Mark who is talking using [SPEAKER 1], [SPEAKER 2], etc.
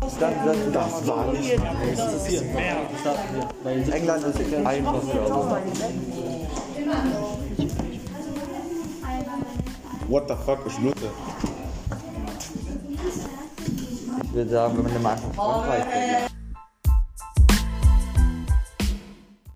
[SPEAKER 1] Das, das, das war nicht. Das ist hier. England ist einfach.
[SPEAKER 2] What the fuck, ich blute.
[SPEAKER 1] Ich würde sagen, wenn man den mal einfach Frankreich denkt.